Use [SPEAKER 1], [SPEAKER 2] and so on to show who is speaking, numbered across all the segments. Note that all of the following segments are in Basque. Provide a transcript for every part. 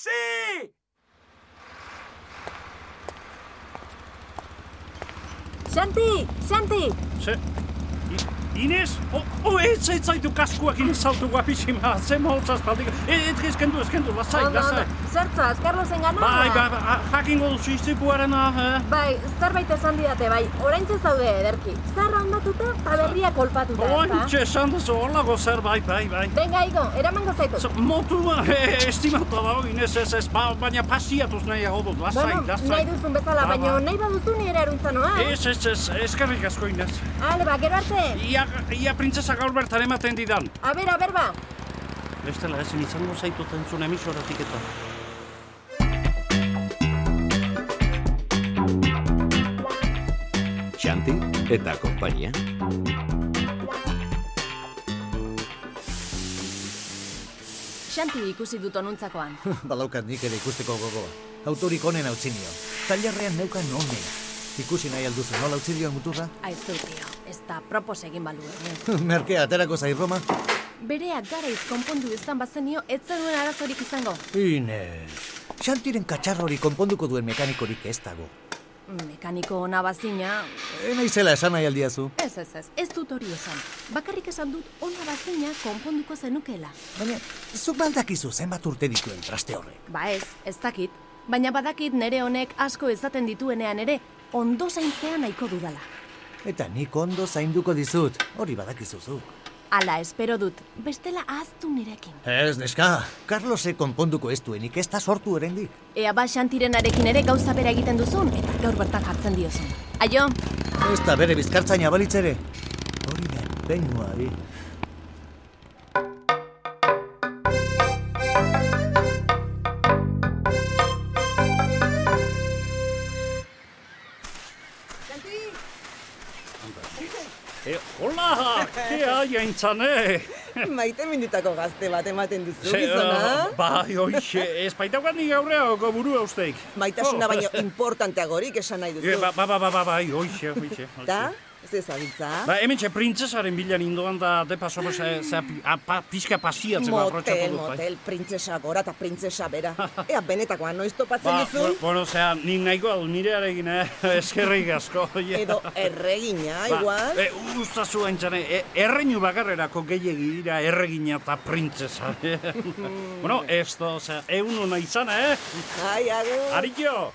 [SPEAKER 1] taksi!
[SPEAKER 2] Xanti, Xanti!
[SPEAKER 3] Ze... I- Ines? O, o, e, ez, ez zaitu kaskuakin saltu guapixima, ze moltz aspaldiko. Ez, ez, eskendu, eskendu, lasai,
[SPEAKER 2] Ondo, ondo.
[SPEAKER 3] Bai, lasai.
[SPEAKER 2] Zertzoaz, Carlosen gana?
[SPEAKER 3] Bai, bai, bai, ah, jakingo duzu istipuarena, eh?
[SPEAKER 2] Bai, zerbait esan didate, bai, orain zaude ederki. Zarra ondatuta eta berria kolpatuta, ezta?
[SPEAKER 3] Oantxe esan duzu horlago zerbait, bai, bai.
[SPEAKER 2] Benga, Igo, eramango zaitut.
[SPEAKER 3] Ze, Motua, eh, estimatu dago, Ines, ez, ez, ba- baina pasiatuz nahiago dut, lasai,
[SPEAKER 2] Bueno,
[SPEAKER 3] lasai.
[SPEAKER 2] nahi duzun bezala,
[SPEAKER 3] Ba,
[SPEAKER 2] baina
[SPEAKER 3] ba.
[SPEAKER 2] nahi baduzu nire eruntza noa. eh?
[SPEAKER 3] Ez, ez, ez, eskerrik asko, Ines.
[SPEAKER 2] Ale, ba, gero arte.
[SPEAKER 3] Ia, ia printzesa gaur bertan ematen didan.
[SPEAKER 2] A ber, a ber, ba.
[SPEAKER 3] Bestela ezin izango zaitut entzun emisoratik eta.
[SPEAKER 4] Xanti eta konpainia.
[SPEAKER 2] Xanti ikusi dut onuntzakoan.
[SPEAKER 5] Badaukat nik ere ikusteko gogoa. Autorik onen hau nio. Tailerrean neukan onen. Ikusi nahi alduzu, nola utzi dion muturra?
[SPEAKER 2] Aizu, tio, ez da propos egin balu, eh?
[SPEAKER 5] Merkea, aterako zai Roma.
[SPEAKER 2] Bereak garaiz konpondu izan bazenio, ez zenuen arazorik izango.
[SPEAKER 5] Inez. Xantiren katxarro hori konponduko duen mekanikorik ez dago.
[SPEAKER 2] Mm. Mekaniko ona bazina,
[SPEAKER 5] E, naizela esan nahi aldiazu.
[SPEAKER 2] Ez, ez, ez, ez dut hori esan. Bakarrik esan dut ona bazina konponduko zenukela.
[SPEAKER 5] Baina, zuk baldakizu zenbat urte dituen traste horrek.
[SPEAKER 2] Ba ez, ez dakit. Baina badakit nere honek asko ezaten dituenean ere, ondo zaintzea nahiko dudala.
[SPEAKER 5] Eta nik ondo zainduko dizut, hori badakizu zu.
[SPEAKER 2] Hala, espero dut, bestela ahaztu nirekin.
[SPEAKER 5] Ez, neska. Carlose konponduko ez duenik, ez da sortu erendik.
[SPEAKER 2] Ea ba xantirenarekin ere gauza bera egiten duzun, eta gaur bertan jartzen diozun. Aio,
[SPEAKER 5] Ez da bere bizkartzaina balitz ere. Hori da, peinua, hori.
[SPEAKER 3] E, hola! Ea jaintzan, eh?
[SPEAKER 6] Maite minutako gazte bat ematen duzu,
[SPEAKER 3] Ze,
[SPEAKER 6] gizona.
[SPEAKER 3] eh, bai, oixe, ez baitaukat nik aurrea oko burua usteik. Oh.
[SPEAKER 6] Maitasuna baino importanteagorik esan
[SPEAKER 3] E,
[SPEAKER 6] nahi duzu.
[SPEAKER 3] ba, ba, ba, ba, ba, bai, oixe, oixe. oixe.
[SPEAKER 6] Eta, ez ezabiltza.
[SPEAKER 3] Ba, hemen txe printzesaren bilan indoan da, de paso, ba, ze, ze, a, pa, pixka pasiatzen ba,
[SPEAKER 6] Motel,
[SPEAKER 3] aprotxatu dut, bai.
[SPEAKER 6] motel, printzesa gora eta printzesa bera. Ea benetakoa noiz topatzen
[SPEAKER 3] Ba,
[SPEAKER 6] duzun,
[SPEAKER 3] bu- bueno, zera, ni nahiko al nirearekin, eh? Eskerrik asko. ja.
[SPEAKER 6] edo erregina,
[SPEAKER 3] Ba,
[SPEAKER 6] igual.
[SPEAKER 3] E, ustazu haintzane, e, erreinu bakarrerako gehiegi dira erregina eta printzesa.
[SPEAKER 6] Mm-hmm.
[SPEAKER 3] bueno, ez da, osea, egun hona izana, eh?
[SPEAKER 6] Ai, agur.
[SPEAKER 3] Aritxo!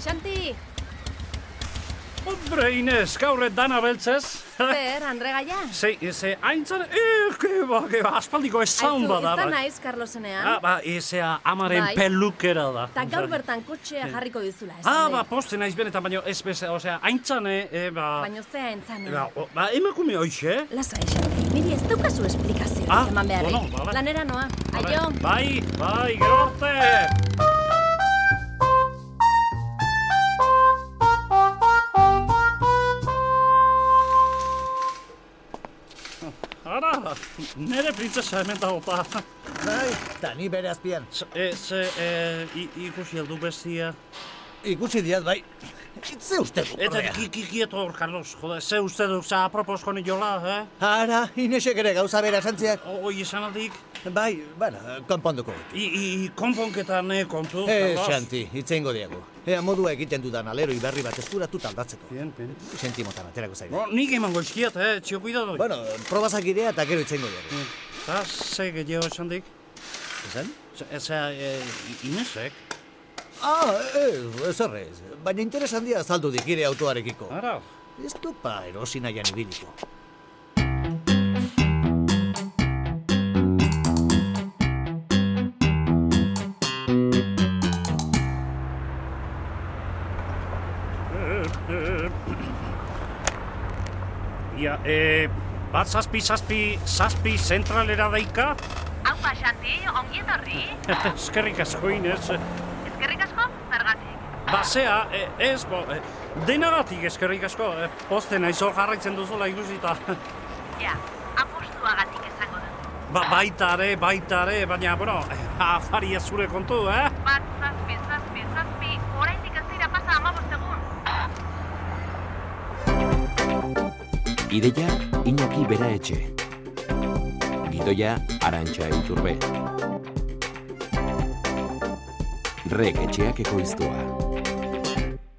[SPEAKER 2] Xanti,
[SPEAKER 3] Hombre, Inez, gaur dana beltzez?
[SPEAKER 2] zer, Andre Gaia?
[SPEAKER 3] Ze, ze, haintzan, eh, keba, keba, aspaldiko esan bada.
[SPEAKER 2] ez da
[SPEAKER 3] bai.
[SPEAKER 2] naiz, Carlosenean.
[SPEAKER 3] Ah, ba, ezea, amaren
[SPEAKER 2] Bai.
[SPEAKER 3] pelukera da.
[SPEAKER 2] Eta gaur bertan kotxea jarriko dizula, esan
[SPEAKER 3] Ah,
[SPEAKER 2] dut.
[SPEAKER 3] ba, poste naiz benetan, baino ez bezea, osea, haintzan, eh, eh, ba...
[SPEAKER 2] Baina zea entzanen.
[SPEAKER 3] Ba, o- ba, emakume hoxe,
[SPEAKER 2] Lasa esan, niri ez daukazu esplikazio
[SPEAKER 3] Ah,
[SPEAKER 2] eman beharrik.
[SPEAKER 3] bueno, ba, bai.
[SPEAKER 2] Lanera noa, aio.
[SPEAKER 3] Bai, bai, gero arte! Ara, nire printzesa hemen dago eta...
[SPEAKER 5] Bai, eta ni bere azpian.
[SPEAKER 3] Z- E, ze, e, i- ikusi heldu bestia.
[SPEAKER 5] Ikusi diat, bai. Ze uste du,
[SPEAKER 3] Eta
[SPEAKER 5] ordea.
[SPEAKER 3] ki- ki- kieto hor, Carlos, jode, ze uste duk, ze apropos koni jola, eh?
[SPEAKER 5] Ara, Inesek ere gauza bera esantziak.
[SPEAKER 3] O- Oi esan aldik,
[SPEAKER 5] Bai, bueno, konponduko. dut.
[SPEAKER 3] i, i, i konponketa ne kontu,
[SPEAKER 5] Eh, Xanti, itzengo diago. Ea modua egiten dudan alero berri bat eskuratu taldatzeko.
[SPEAKER 3] Bien, bien.
[SPEAKER 5] Sentimotan aterako zaigu.
[SPEAKER 3] Bo, Oh, nik emango izkiat, eh, txio kuidado.
[SPEAKER 5] Bueno, probazak irea eta gero itzengo diago.
[SPEAKER 3] Eta ze gehiago esan dik,
[SPEAKER 5] Esan?
[SPEAKER 3] ze, ze e, I- Inesek,
[SPEAKER 5] Ah, eh, ez errez. Baina interes handia azaldu dik ire autoarekiko.
[SPEAKER 3] ara,
[SPEAKER 5] Ez topa erosi nahian ibiliko.
[SPEAKER 3] ia, e, bat zazpi, zazpi, zazpi zentralera daika,
[SPEAKER 7] Haupa, Xanti, ongi etorri.
[SPEAKER 3] eskerrik asko Ines.
[SPEAKER 7] Ezkerrik asko, zergatik.
[SPEAKER 3] Basea, e, ez, bo, e, denagatik eskerrik asko, e, poste naiz hor jarraitzen duzula ikusita.
[SPEAKER 7] Ja, apustuagatik esango dut.
[SPEAKER 3] Ba, baita ere, baita ere, baina, bueno, afaria zure kontu, eh?
[SPEAKER 7] Bat, zazpi, zazpi, zazpi, oraindik ez dira pasa amabost egun.
[SPEAKER 4] Ideia, Iñaki Bera Etxe. Gidoia, Arantxa Iturbe. Rek etxeak ekoiztua.